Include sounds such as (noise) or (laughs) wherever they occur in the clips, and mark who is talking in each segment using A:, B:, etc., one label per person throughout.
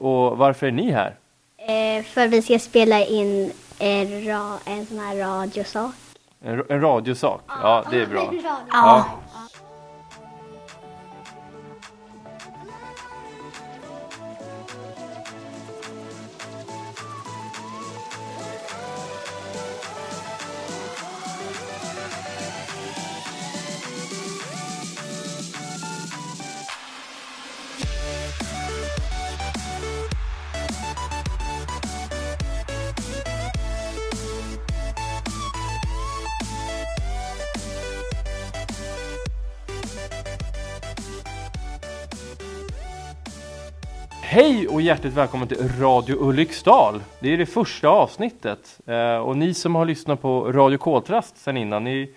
A: Och varför är ni här?
B: Eh, för vi ska spela in en, ra, en sån här radiosak.
A: En, en radiosak?
B: Ah.
A: Ja, det är
B: (laughs)
A: bra.
B: Ja.
A: Hej och hjärtligt välkommen till Radio Ulriksdal. Det är det första avsnittet. Eh, Och ni som har lyssnat på Radio Koltrast sen innan, ni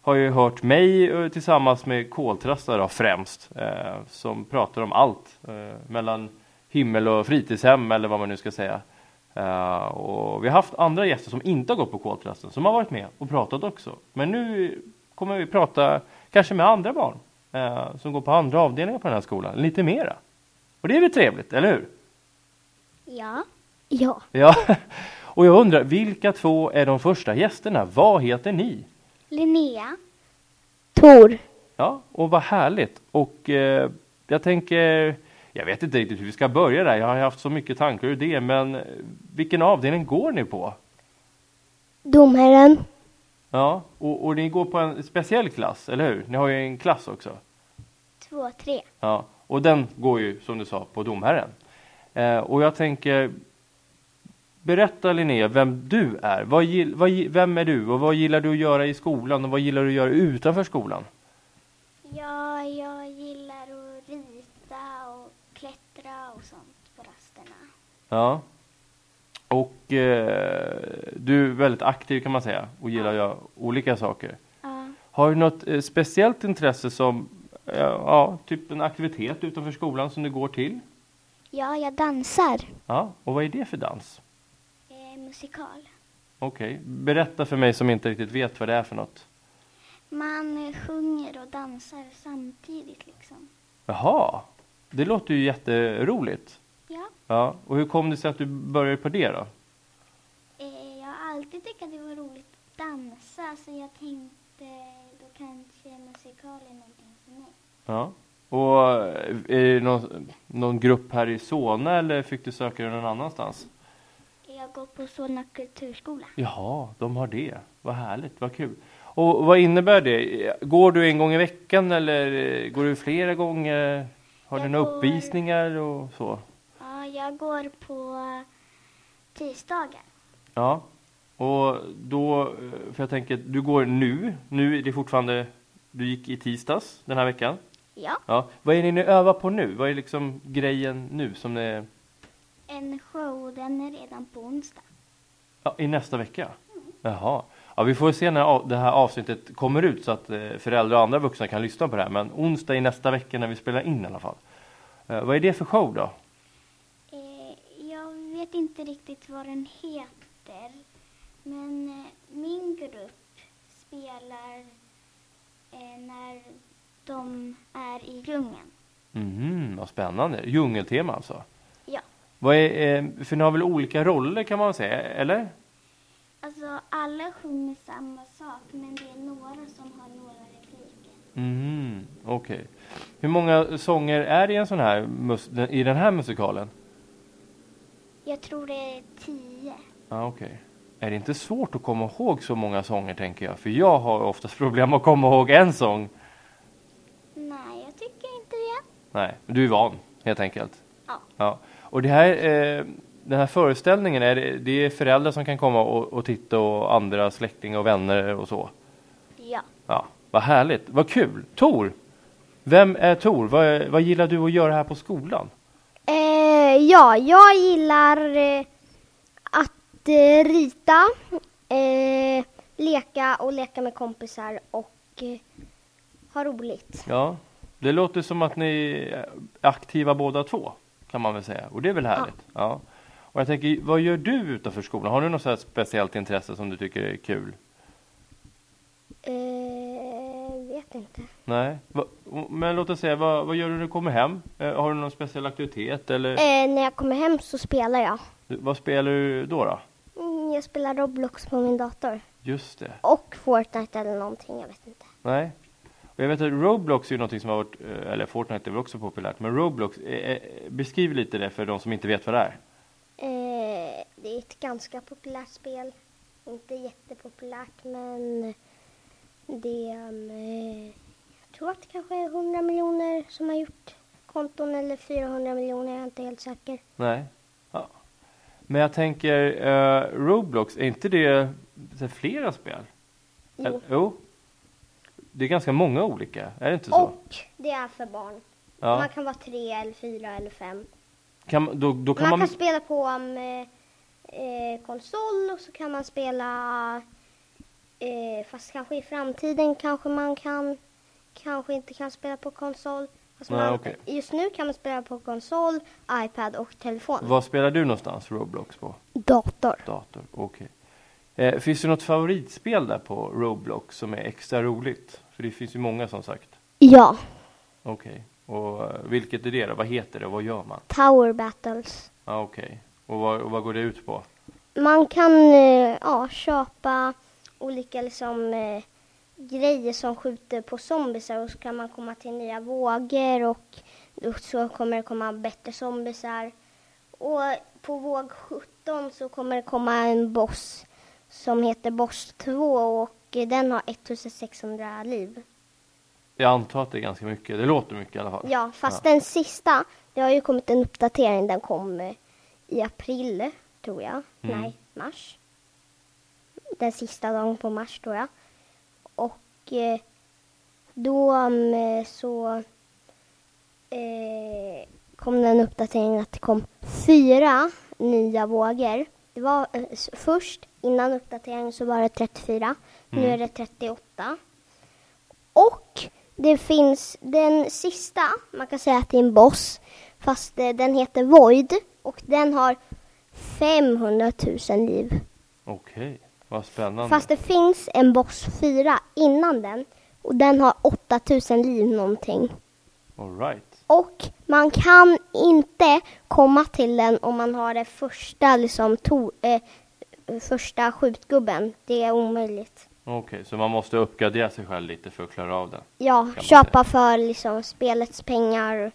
A: har ju hört mig eh, tillsammans med Koltrast där då, främst. eh, Som pratar om allt. eh, Mellan himmel och fritidshem eller vad man nu ska säga. Eh, Och vi har haft andra gäster som inte har gått på Koltrasten som har varit med och pratat också. Men nu kommer vi prata kanske med andra barn. eh, Som går på andra avdelningar på den här skolan. Lite mera. Och det är väl trevligt, eller hur?
B: Ja. Ja.
A: Ja. Och jag undrar, vilka två är de första gästerna? Vad heter ni?
B: Linnea. Tor.
A: Ja, och vad härligt. Och eh, jag tänker, jag vet inte riktigt hur vi ska börja där. Jag har haft så mycket tankar ur det, men eh, vilken avdelning går ni på?
B: Domherren.
A: Ja, och, och ni går på en speciell klass, eller hur? Ni har ju en klass också.
B: Två, tre.
A: Ja, och den går ju som du sa på domherren. Eh, och jag tänker berätta Linnea vem du är. Vad, gill- vad, gi- vem är du och vad gillar du att göra i skolan och vad gillar du att göra utanför skolan?
B: Ja, jag gillar att rita och klättra och sånt på rasterna.
A: Ja. Och eh, du är väldigt aktiv kan man säga och gillar att göra olika saker.
B: Ja.
A: Har du något eh, speciellt intresse som eh, ja, typ en aktivitet utanför skolan som du går till?
B: Ja, jag dansar.
A: Ja, och vad är det för dans?
B: Eh, musikal.
A: Okej, berätta för mig som inte riktigt vet vad det är för något.
B: Man sjunger och dansar samtidigt liksom.
A: Jaha, det låter ju jätteroligt.
B: Ja.
A: Ja, och hur kom det sig att du började på det då?
B: Eh, Jag har alltid tyckt att det var roligt att dansa så jag tänkte då kanske musikal är någonting för mig.
A: Ja. Och eh, är det någon, någon grupp här i Solna eller fick du söka dig någon annanstans?
B: Jag går på Solna kulturskola.
A: Jaha, de har det. Vad härligt, vad kul. Och vad innebär det? Går du en gång i veckan eller eh, går du flera gånger? Har du
B: Jag
A: några
B: går-
A: uppvisningar och så?
B: Ja, jag går på tisdagar.
A: Ja, och då, eh, för jag tänker, du går nu, nu är det fortfarande, du gick i tisdags den här veckan?
B: Ja.
A: Ja. Vad är det ni övar på nu? Vad är liksom grejen nu som är
B: En show, den är redan på onsdag.
A: ja, i nästa vecka? Jaha. Ja, vi får se när av- det här avsnittet kommer ut så att eh, föräldrar och andra vuxna kan lyssna på det här. Men onsdag i nästa vecka när vi spelar in i alla fall. Eh, Vad är det för show då?
B: Eh, jag vet inte riktigt vad den heter. Men eh, min grupp spelar eh, när de är i djungeln.
A: Mhm, vad spännande. Djungeltema alltså.
B: Ja.
A: Vad är, eh, för ni har väl olika roller kan man säga, eller?
B: Alltså alla sjunger samma sak men det är några som har några repliker.
A: Mhm, okej. Hur många sånger är det i en sån här, mus- i den här musikalen?
B: Jag tror det är tio.
A: Ja, okej. Är det inte svårt att komma ihåg så många sånger tänker jag? För jag har oftast problem att komma ihåg en sång.
B: Nej, jag tycker inte det.
A: Nej, men du är van helt enkelt.
B: Ja.
A: Ja. Och det här, eh, den här föreställningen, är det, det är föräldrar som kan komma och, och titta och andra släktingar och vänner och så?
B: Ja.
A: Ja, vad härligt, vad kul. Tor, vem är Tor? Vad, vad gillar du att göra här på skolan?
C: Eh, ja, jag gillar eh, att eh, rita, eh, leka och leka med kompisar och eh, ha roligt.
A: Ja, det låter som att ni är aktiva båda två kan man väl säga och det är väl härligt. Ja. Och jag tänker, vad gör du utanför skolan? Har du något så här speciellt intresse som du tycker är kul?
C: Eh,
B: vet inte.
A: Nej. Va, men låt oss säga, vad, vad gör du när du kommer hem? Eh, har du någon speciell aktivitet eller
B: Eh, när jag kommer hem så spelar jag.
A: vad spelar du då? då?
B: Mm, jag spelar Roblox på min dator.
A: Just det.
B: Och Fortnite eller någonting, jag vet inte.
A: Nej. Och jag vet att Roblox är ju någonting som har varit, eh, eller Fortnite är väl också populärt, men Roblox, eh, eh, beskriv lite det för de som inte vet vad det är.
B: Eh, det är ett ganska populärt spel. Inte jättepopulärt, men det är... Eh, jag tror att det kanske är 100 miljoner som har gjort konton eller 400 miljoner, jag är inte helt säker.
A: Nej. Ja. Men jag tänker, eh, Roblox, är inte det så här flera spel?
B: Jo.
A: Eller- jo. Det är ganska många olika, är det inte så?
B: Och det är för barn.
A: Ja.
B: Man kan vara tre eller fyra eller fem.
A: Kan, då, då kan
B: man,
A: man,
B: kan spela på um, eh, eh, konsol och så kan man spela eh, fast kanske i framtiden kanske man kan kanske inte kan spela på konsol. Fast
A: Nej,
B: man,
A: okej.
B: Just nu kan man spela på konsol, iPad och telefon.
A: Vad spelar du någonstans Roblox på?
B: Dator.
A: Dator, okej. Eh, finns det något favoritspel där på Roblox som är extra roligt? För det finns ju många som sagt.
B: Ja.
A: Okej. Och eh, vilket är det då? Vad heter det och vad gör man?
B: Tower battles.
A: Ja, okej. Och vad, och vad går det ut på?
B: Man kan eh, ja, köpa olika liksom, eh, grejer som skjuter på zombiesar och så kan man komma till nya vågor och då så kommer det komma bättre zombiesar. Och på våg 17 så kommer det komma en boss som heter Boss 2 och eh, den har 1600 liv.
A: Jag antar att det är ganska mycket. Det låter mycket i alla fall.
B: Ja, fast den sista, det har ju kommit en uppdatering, den kom eh, i april tror jag.
A: Mm.
B: Nej, mars. Den sista dagen på mars tror jag. Och eh, då mm, så eh, kom den uppdateringen att det kom fyra nya vågor. Det var eh, s- först, innan uppdateringen så var det 34. Nu
A: Mm.
B: är det 38. Och det finns den sista, man kan säga att det är en boss, fast eh, den heter Void och den har 500 000 liv.
A: Okej. Vad spännande.
B: Fast det finns en boss 4 innan den och den har 8 000 liv någonting.
A: All right.
B: Och man kan inte komma till den om man har det första, liksom, to- eh, första skjutgubben. Det är omöjligt.
A: Okej, så man måste uppgradera sig själv lite för att klara av den.
B: Ja,
A: man
B: köpa för liksom spelets pengar.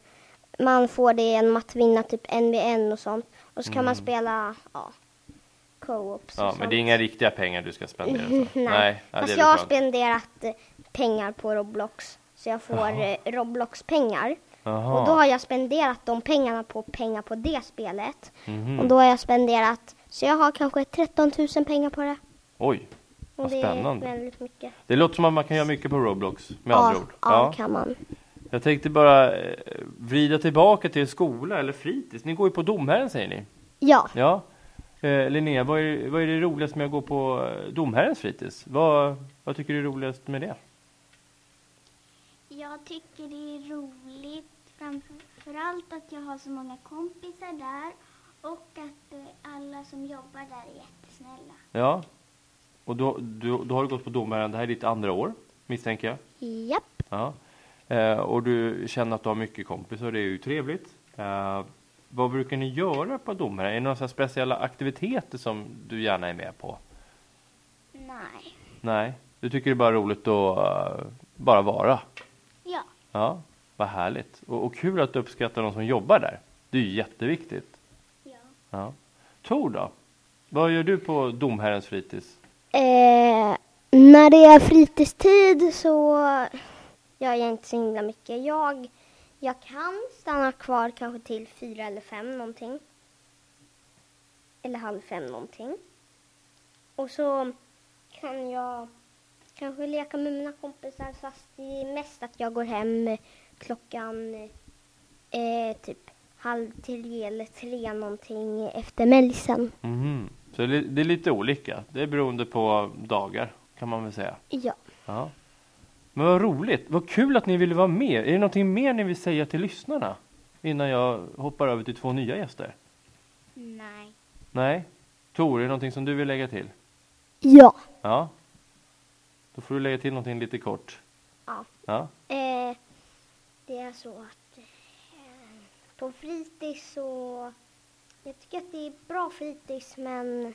B: Man får det genom att vinna typ en vid en och sånt. Och så kan man spela, ja, co-ops och
A: Mm. Ja, men
B: sånt.
A: det är inga
B: (laughs)
A: riktiga pengar du ska spendera. så.
B: Nej,
A: ja, det
B: fast
A: är
B: jag
A: väl
B: har
A: skönt.
B: spenderat eh, pengar på Roblox. Så jag får
A: Jaha.
B: eh, Roblox-pengar.
A: Jaha.
B: Och då har jag spenderat de pengarna på pengar på det spelet.
A: Mhm.
B: Och då har jag spenderat, så jag har kanske 13 000 pengar på det.
A: Oj,
B: Och
A: vad
B: det
A: spännande.
B: är väldigt mycket.
A: Det låter som att man kan göra mycket på Roblox med
B: ja,
A: andra ord.
B: ja, det kan man.
A: Jag tänkte bara eh, vrida tillbaka till skola eller fritids. Ni går ju på Domherren säger ni.
B: Ja,
A: Ja. Eh, Linnea, vad är, vad är det roligaste med att gå på eh, Domherrens fritids? Vad, vad tycker du är roligast med det?
D: Jag tycker det är roligt framförallt att jag har så många kompisar där och att eh, alla som jobbar där är jättesnälla.
A: Ja. Och då, då, då har du gått på Domherren. Det här är ditt andra år, misstänker jag.
B: japp.
A: Ja. Eh, och du känner att du har mycket kompisar. Det är ju trevligt. Eh, vad brukar ni göra på Domherren? Är det några så här speciella aktiviteter som du gärna är med på?
D: Nej.
A: Nej, du tycker det är bara roligt att eh, bara vara.
D: Ja.
A: Ja, vad härligt. Och, och kul att du uppskattar de som jobbar där. Det är ju jätteviktigt.
D: ja.
A: Ja. Tor då? Vad gör du på Domherrens fritids?
B: Eh, när det är fritidstid så gör jag inte så himla mycket. Jag, jag kan stanna kvar kanske till fyra eller fem någonting. Eller halv fem någonting. Och så kan jag kanske leka med mina kompisar fast det är mest att jag går hem klockan eh, typ halv tre eller tre någonting efter melisen.
A: Mhm. Så det, det är lite olika. Det är beroende på dagar kan man väl säga.
B: Ja.
A: Ja. Men vad roligt. Vad kul att ni ville vara med. Är det någonting mer ni vill säga till lyssnarna? Innan jag hoppar över till två nya gäster.
D: Nej.
A: Nej? Tor, är det någonting som du vill lägga till?
B: Ja.
A: Ja. Då får du lägga till någonting lite kort.
B: Ja.
A: Ja.
D: Eh, det är så att eh, på fritids så... Jag tycker att det är bra fritids men...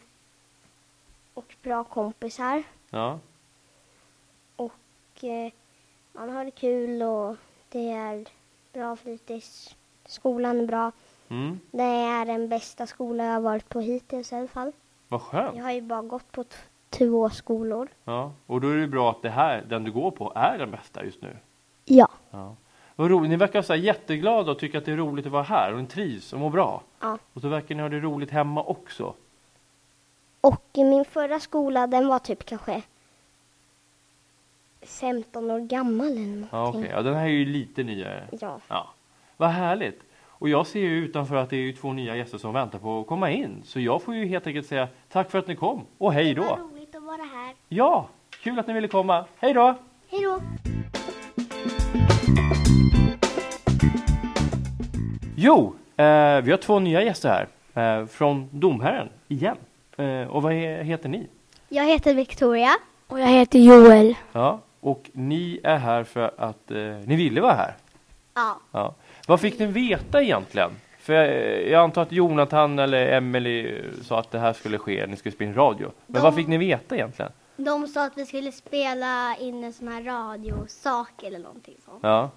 D: Och bra kompisar.
A: Ja.
D: Och eh, man har det kul och det är bra fritids. Skolan är bra.
A: Mm.
D: Det är den bästa skolan jag har varit på hittills i alla fall.
A: Vad
D: Jag
A: skönt.
D: har ju bara gått på t- två skolor.
A: Ja. Och då är det bra att det här, den du går på, är den bästa just nu.
D: Ja.
A: Ja. Vad roligt. Ni verkar så här jätteglada och tycker att det är roligt att vara här och ni trivs och mår bra.
D: ja.
A: Och så verkar ni ha det roligt hemma också.
D: Och i min förra skola, den var typ kanske 15 år gammal eller
A: Ja, okej.
D: någonting.
A: Ja, den här är ju lite nyare.
D: Ja.
A: Ja. Vad härligt. Och jag ser ju utanför att det är ju två nya gäster som väntar på att komma in. Så jag får ju helt enkelt säga tack för att ni kom och hej
E: Det var
A: då.
E: roligt att vara här.
A: Ja, kul att ni ville komma. Hej då!
E: Hej då!
A: Jo, eh, vi har två nya gäster här. Eh, från Domherren, igen. Eh, och vad he- heter ni?
D: Jag heter Victoria.
B: Och jag heter Joel.
A: Ja, och ni är här för att eh, ni ville vara här.
D: Ja.
A: Ja. Vad fick ni veta egentligen? För jag, jag antar att Jonathan eller Emily eh, sa att det här skulle ske, ni skulle spela in radio. Men
D: De-
A: vad fick ni veta egentligen?
D: De sa att vi skulle spela in en sån här radiosak eller någonting sånt.
A: Ja.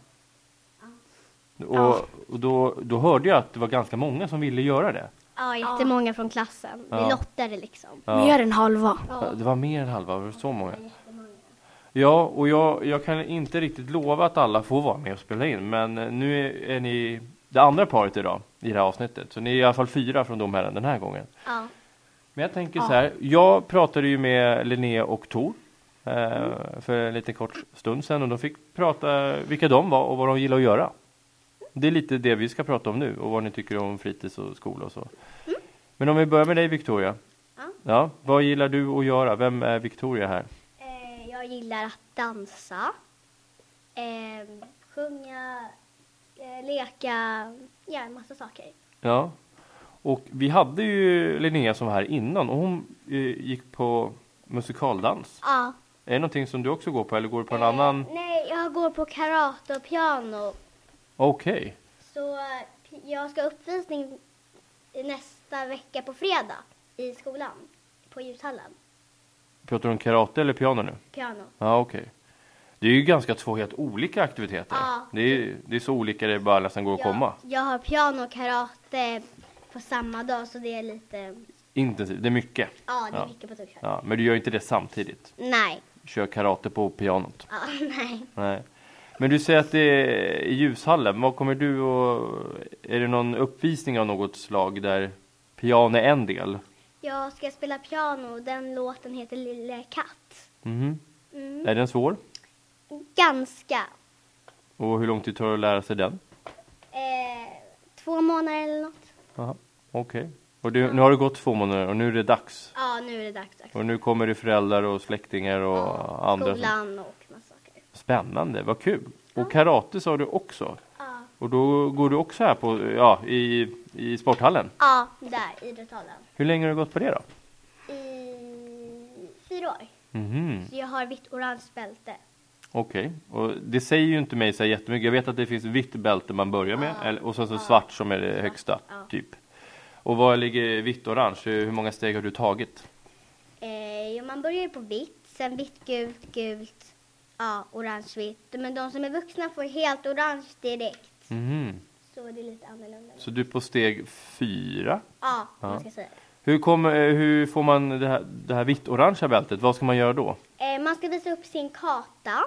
A: Och, och då, då hörde jag att det var ganska många som ville göra det.
D: Ja, jättemånga från klassen.
A: Ja.
D: Vi lottade liksom.
A: Ja.
B: Mer än halva.
A: Ja, Det var mer än halva, var det så många? Ja, och jag, jag kan inte riktigt lova att alla får vara med och spela in, men eh, nu är, är ni det andra paret idag i det här avsnittet. Så ni är i alla fall fyra från domherren den här gången.
D: Ja.
A: Men jag tänker så här, jag pratade ju med Linnea och Tor eh,
D: Mm.
A: för en liten kort stund sedan och de fick prata vilka de var och vad de gillar att göra. Det är lite det vi ska prata om nu och vad ni tycker om fritids och skola och så. Men om vi börjar med dig Victoria.
D: Mm. Ja.
A: Ja, vad gillar du att göra? Vem är Victoria här?
D: Eh, jag gillar att dansa, eh, sjunga, eh, leka, ja en massa saker.
A: Ja. Och vi hade ju Linnea som var här innan och hon eh, gick på musikaldans.
D: Ja.
A: Är det någonting som du också går på eller går du på en annan?
D: Eh, nej, jag går på karate och piano.
A: Okej.
D: Så eh, pi- jag ska ha uppvisning i nästa vecka på fredag i skolan, på ljushallen.
A: Pratar du om karate eller piano nu?
D: Piano.
A: Ja, okej. Det är ju ganska två helt olika aktiviteter.
D: Ja.
A: Det, är, det är så olika det bara nästan går att komma.
D: Jag, jag har piano och karate på samma dag så det är lite,
A: Intensivt, det är mycket.
D: ja det är
A: Ja.
D: mycket på torsdag.
A: Ja, men du gör ju inte det samtidigt.
D: Nej,
A: Kör karate på pianot.
D: ja, (laughs) nej.
A: Nej. Men du säger att det är i ljushallen. Vad kommer du och... Är det någon uppvisning av något slag där piano är en del?
D: Jag ska spela piano och den låten heter Lille katt.
A: Mhm.
D: Mm.
A: Är den svår?
D: Ganska.
A: Och hur lång tid tar det att lära sig den?
D: Eh, två månader eller något.
A: Jaha, Okej. Och du, nu har det gått två månader och nu är det dags.
D: Ja, nu är det dags. dags.
A: Och nu kommer det föräldrar och släktingar och andra. som-
D: Skolan och massa saker.
A: Spännande, vad kul. Och karate sa du också.
D: Ja,
A: Och då går du också här på, ja, i, i sporthallen.
D: ja där, idrottshallen.
A: Hur länge har du gått på det då?
D: I fyra år.
A: Mhm,
D: Så jag har vitt-orange bälte.
A: Okej, och det säger ju inte mig så här jättemycket. Jag vet att det finns vitt bälte man börjar med eller, och sen så svart som är det högsta,
D: ja.
A: typ. Och var ligger vitt och orange? Hur många steg har du tagit?
D: Eh, jo, man börjar ju på vitt, sen vitt, gult, gult, ja, orange, vitt. Men de som är vuxna får helt orange direkt.
A: Mhm.
D: Så det är lite annorlunda.
A: Så du är på steg fyra?
D: Ja, om
A: Ja.
D: man ska säga.
A: Hur, kommer, eh, hur får man det här, det här vitt-orangea bältet? Vad ska man göra då?
D: Eh, man ska visa upp sin karta.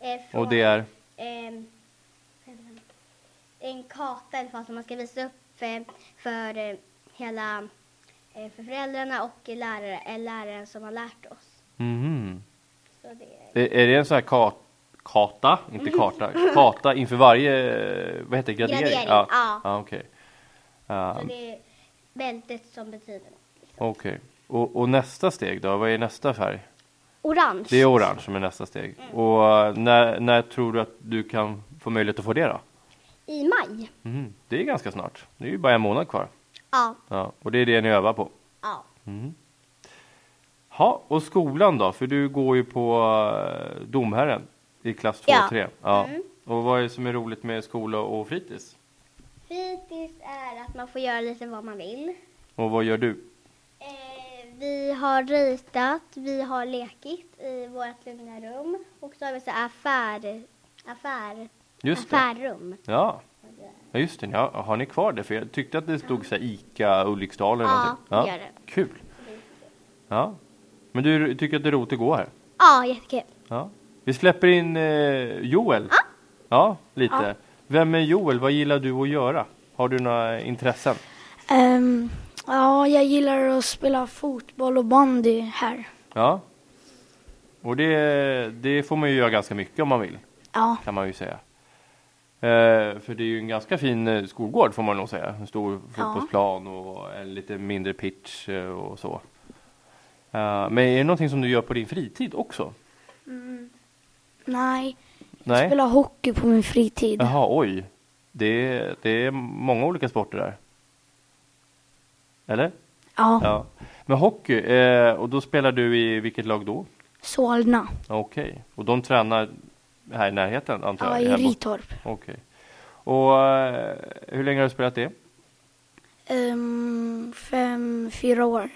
D: Eh, från,
A: Och det är?
D: ehm, vad heter den? en karta i alla fall som man ska visa upp eh, för eh, hela eh, för föräldrarna och lärare, eh, läraren som har lärt oss.
A: Mhm.
D: Så det är
A: Är, är det en sån här ka- karta, inte
D: Mhm.
A: karta, karta inför varje, eh, vad heter det, gradering?
D: Gradering,
A: ja.
D: ja.
A: ja okej. Ja,
D: så det är bältet som betyder något.
A: okej. Och, och nästa steg då, vad är nästa färg?
D: Orange.
A: Det är orange som är nästa steg.
D: Mm.
A: Och eh, när, när tror du att du kan få möjlighet att få det då?
D: I maj.
A: Mhm. Det är ganska snart, det är ju bara en månad kvar.
D: Ja.
A: Ja, och det är det ni övar på.
D: ja.
A: Mm. Ha, och skolan då? För du går ju på eh, Domherren. I klass 2-3?
B: Ja.
A: Ja.
D: Mm.
A: Och vad är det som är roligt med skola och fritids?
D: Fritids är att man får göra lite vad man vill.
A: Och vad gör du?
D: Eh, vi har ritat, vi har lekit i vårt lugna rum och så har vi så affär, affär,
A: Just det.
D: affärrum.
A: Ja. ja, just det. Ja, har ni kvar det? För jag tyckte att det stod så här ICA Ulriksdal eller
D: Ja,
A: någonting.
D: det gör det.
A: Kul. Ja. Men du tycker att det är roligt att gå här?
D: Ja, jättekul.
A: Ja. Vi släpper in eh, Joel. Ja. lite. Vem är Joel? Vad gillar du att göra? Har du några intressen?
F: Ehm, ja, jag gillar att spela fotboll och bandy här.
A: Ja. Och det, det får man ju göra ganska mycket om man vill,
F: Ja,
A: kan man ju säga. Eh, för det är ju en ganska fin eh, skolgård får man nog säga. En stor fotbollsplan och en lite mindre pitch eh, och så. Eh, men är det någonting som du gör på din fritid också?
F: nej.
A: Nej?
F: Jag spelar hockey på min fritid.
A: Jaha, oj. Det, det är många olika sporter där. Eller?
F: Ja,
A: Ja. Men hockey, eh, och då spelar du i vilket lag då?
F: Solna.
A: Okej. Och de tränar här i närheten antar
F: Ja,
A: jag?
F: i
A: hemma.
F: Ritorp.
A: Okej. Och eh, hur länge har du spelat det?
F: Ehm, fem, fyra år.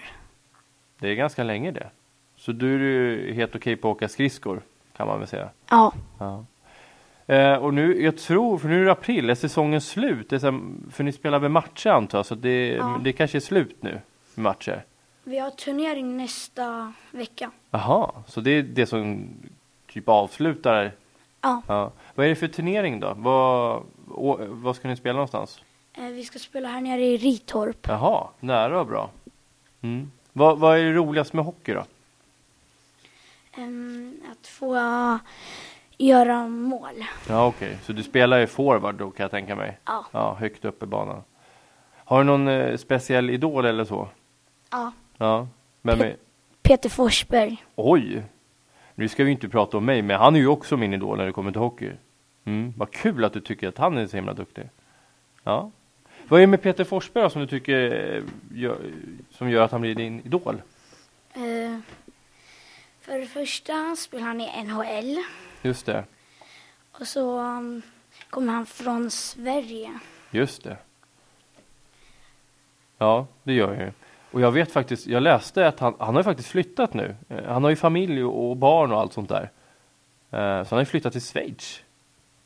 A: Det är ganska länge det. Så du är ju helt okej på att åka skridskor kan man väl säga.
F: Ja,
A: Ja. Eh, och nu, jag tror, för nu är det april, är säsongen slut? Det är sen, för ni spelar väl matcher antar jag, så det,
F: Ja.
A: det kanske är slut nu med matcher?
F: vi har turnering nästa vecka.
A: Jaha, så det är det som typ avslutar?
F: Ja,
A: Ja. Vad är det för turnering då? Vad, å, vad ska ni spela någonstans?
F: eh, vi ska spela här nere i Ritorp.
A: Jaha, nära och bra. Mm. Vad, vad är det roligast med hockey då?
F: Ehm, att få eh, göra mål.
A: Ja okej, så du spelar ju forward då kan jag tänka mig?
F: Ja.
A: Ja, högt upp i banan. Har du någon eh, speciell idol eller så?
F: ja.
A: Ja. Vem är...
F: Peter Forsberg.
A: Oj! Nu ska vi inte prata om mig, men han är ju också min idol när det kommer till hockey. Mm. Vad kul att du tycker att han är så himla duktig. Ja. Vad är det med Peter Forsberg då som du tycker eh, gör, som gör att han blir din idol?
F: Eh, för det första spelar han i NHL
A: Just det,
F: och så um, kommer han från Sverige.
A: just det. Ja, det gör jag ju. Och jag vet faktiskt, jag läste att han, han har ju faktiskt flyttat nu. Eh, Han har ju familj och barn och allt sånt där. Eh, Så han har ju flyttat till Schweiz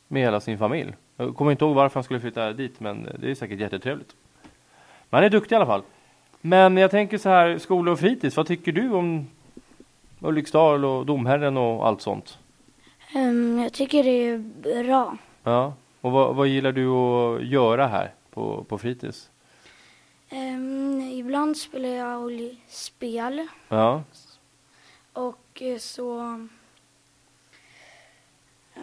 A: med hela sin familj. Jag kommer inte ihåg varför han skulle flytta dit, men det är säkert jättetrevligt. Men han är duktig i alla fall. Men jag tänker så här, skola och fritids, vad tycker du om Ulriksdal och Domherren och allt sånt?
F: Ehm, jag tycker det är bra.
A: Ja, och vad, vad gillar du att göra här på, på fritids?
F: Ehm, ibland spelar jag oli- spel
A: Ja,
F: och eh, så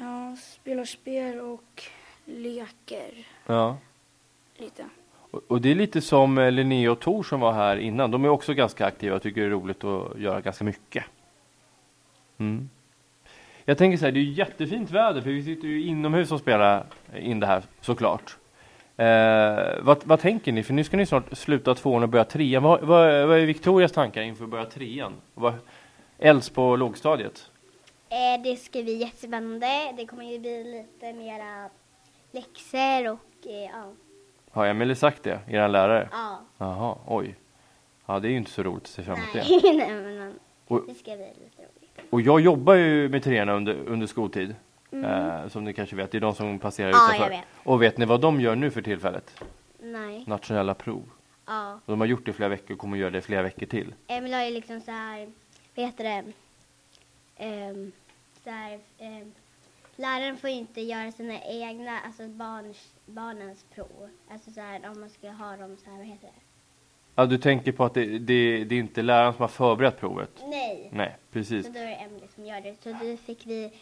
F: ja, spelar spel och leker
A: ja.
F: lite.
A: Och, och det är lite som eh, Linnea och Tor som var här innan. De är också ganska aktiva och tycker det är roligt att göra ganska mycket. Mm. Jag tänker så här, det är ju jättefint väder för vi sitter ju inomhus och spelar in det här såklart. Eh, vad, vad tänker ni? För nu ska ni snart sluta tvåan och börja trean. Vad, vad, vad är Victorias tankar inför att börja trean? Vad elds på lågstadiet?
D: Eh, det ska bli jättespännande. Det kommer ju bli lite mera läxor och eh, ja.
A: Har Emelie sagt det? Er lärare?
D: ja.
A: Jaha, oj. Ja, det är ju inte så roligt att se fram emot det.
D: Nej, nej (laughs) men man,
A: Och-
D: det ska bli lite roligt.
A: Och jag jobbar ju med treorna under, under skoltid. Eh, som ni kanske vet, det är de som passerar
D: Mm. Ja, jag
A: utanför.
D: vet.
A: Och vet ni vad de gör nu för tillfället?
D: Nej.
A: Nationella prov.
D: Ja.
A: Och de har gjort det i flera veckor och kommer göra det i flera veckor till.
D: Emil har ju liksom så här, vad heter det, Ehm, så här, ehm, läraren får ju inte göra sina egna, alltså barns, barnens prov. Alltså så här, om man ska ha dem så här, vad heter det?
A: Ja, du tänker på att det, det, det är inte läraren som har förberett provet?
D: Nej!
A: Nej, precis.
D: Så då är Mm. det Emily som gör det. Så då fick vi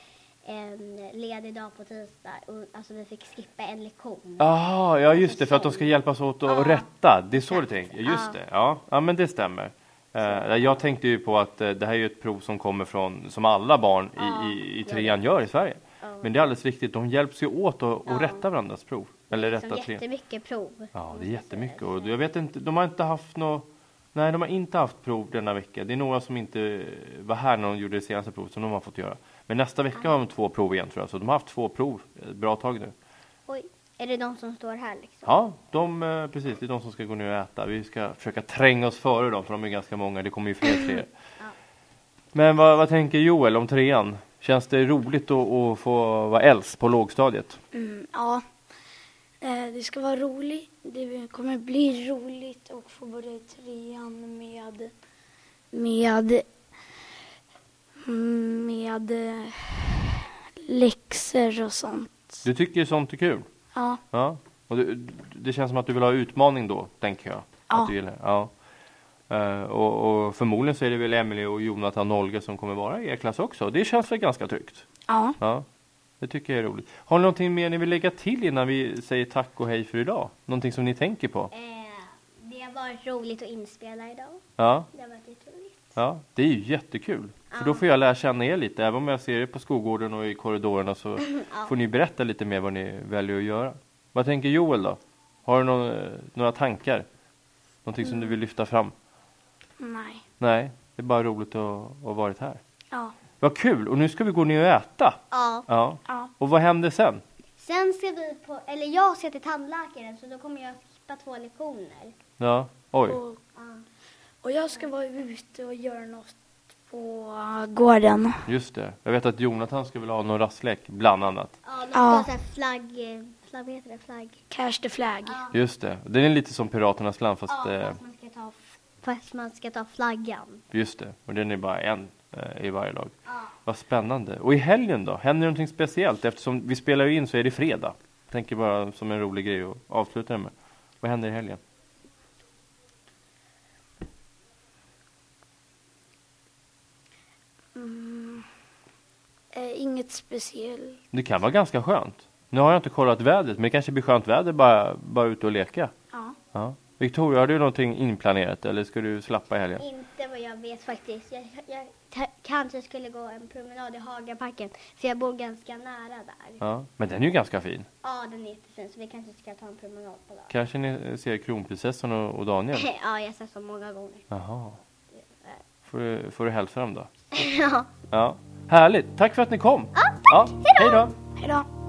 D: en ledig dag på tisdag och alltså vi fick skippa en lektion.
A: Jaha, ja just det, för att de ska hjälpas åt att
D: Ja.
A: rätta. Det är så du tänker, just
D: Ja.
A: det. Ja, ja men det stämmer. Eh, jag tänkte ju på att eh, det här är ju ett prov som kommer från, som alla barn
D: Ja,
A: i, i, i
D: jag
A: trean gör i Sverige.
D: Ja.
A: Men det är alldeles riktigt, de hjälps ju åt att att
D: Ja.
A: rätta varandras prov. Eller
D: Liksom
A: rätta trean.
D: jättemycket prov.
A: Ja, det är jättemycket. Och jag vet inte, de har inte haft något Nej, de har inte haft prov denna vecka. Det är några som inte var här när de gjorde det senaste provet som de har fått göra. Men nästa vecka har de två prov igen tror jag, så de har haft två prov ett bra tag nu.
B: Oj, är det de som står här liksom?
A: Ja, de, eh, precis, det är de som ska gå ner och äta. Vi ska försöka tränga oss före dem, för de är ganska många. Det kommer ju fler och fler. Men vad, vad tänker Joel om trean? Känns det roligt att, att få vara äldst på lågstadiet?
F: Mm, ja, eh, det ska vara roligt. Det kommer bli roligt att få börja i trean med, med, med eh, läxor och sånt.
A: Du tycker ju sånt är kul?
F: Ja,
A: Ja. Och du, det känns som att du vill ha utmaning då, tänker jag.
F: Ja.
A: Att du gillar. ja. Eh, och, och förmodligen så är det väl Emelie och Jonathan och Olga som kommer vara i er klass också. Det känns väl ganska tryggt?
F: ja.
A: Ja, det tycker jag är roligt. Har ni någonting mer ni vill lägga till innan vi säger tack och hej för idag? Någonting som ni tänker på?
D: Eh, det har varit roligt att inspela idag.
A: Ja,
D: Det har varit jätteroligt.
A: ja det är ju jättekul. För då får jag lära känna er lite. Även om jag ser er på skolgården och i korridorerna så får ni berätta lite mer vad ni väljer att göra. Vad tänker Joel då? Har du någon, eh, några tankar? Någonting som du vill lyfta fram?
F: Nej,
A: Nej, det är bara roligt att att ha varit här.
F: ja,
A: Vad kul! Och nu ska vi gå ner och äta.
D: Ja.
A: Ja.
F: ja.
A: Och vad händer sen?
D: Sen ska vi på, eller jag ska till tandläkaren så då kommer jag skippa två lektioner.
A: Ja, oj.
F: Och, och jag ska vara ute och göra något på gården.
A: Just det. Jag vet att Jonathan skulle vilja ha någon rastlek, bland annat.
D: Ja, man
F: ska Ja. ha så
D: flagg, flagg, vad heter det, flagg?
F: Cash the flag.
A: Just det. Den är lite som Piraternas land, fast... Eh,
D: man ska ta, fast man ska ta flaggan.
A: just det. Och den är bara en eh, i varje lag. Vad spännande. Och i helgen då? Händer någonting speciellt? Eftersom vi spelar ju in så är det fredag. Tänker bara som en rolig grej att avsluta det med. Vad händer i helgen?
F: Eh, inget speciellt.
A: Det kan vara ganska skönt. Nu har jag inte kollat vädret, men det kanske blir skönt väder bara, bara ute och leka.
F: Ja.
A: Ja. Victoria, har du någonting inplanerat eller ska du slappa i helgen?
D: Inte vad jag vet faktiskt. Jag, jag ta- kanske skulle gå en promenad i Hagaparken för jag bor ganska nära där. Ja,
A: Ja. Men den är ju ganska fin.
D: den är jättefin så vi kanske ska ta en promenad på dagen.
A: Kanske ni eh, ser kronprinsessan och, och Daniel?
D: (laughs) ja, jag har sett dem många gånger.
A: Jaha. Får du, får du (laughs) hälsa dem då?
D: ja.
A: Ja. Härligt. Tack för att ni kom. Ja, tack. Hej då.
F: Hej då.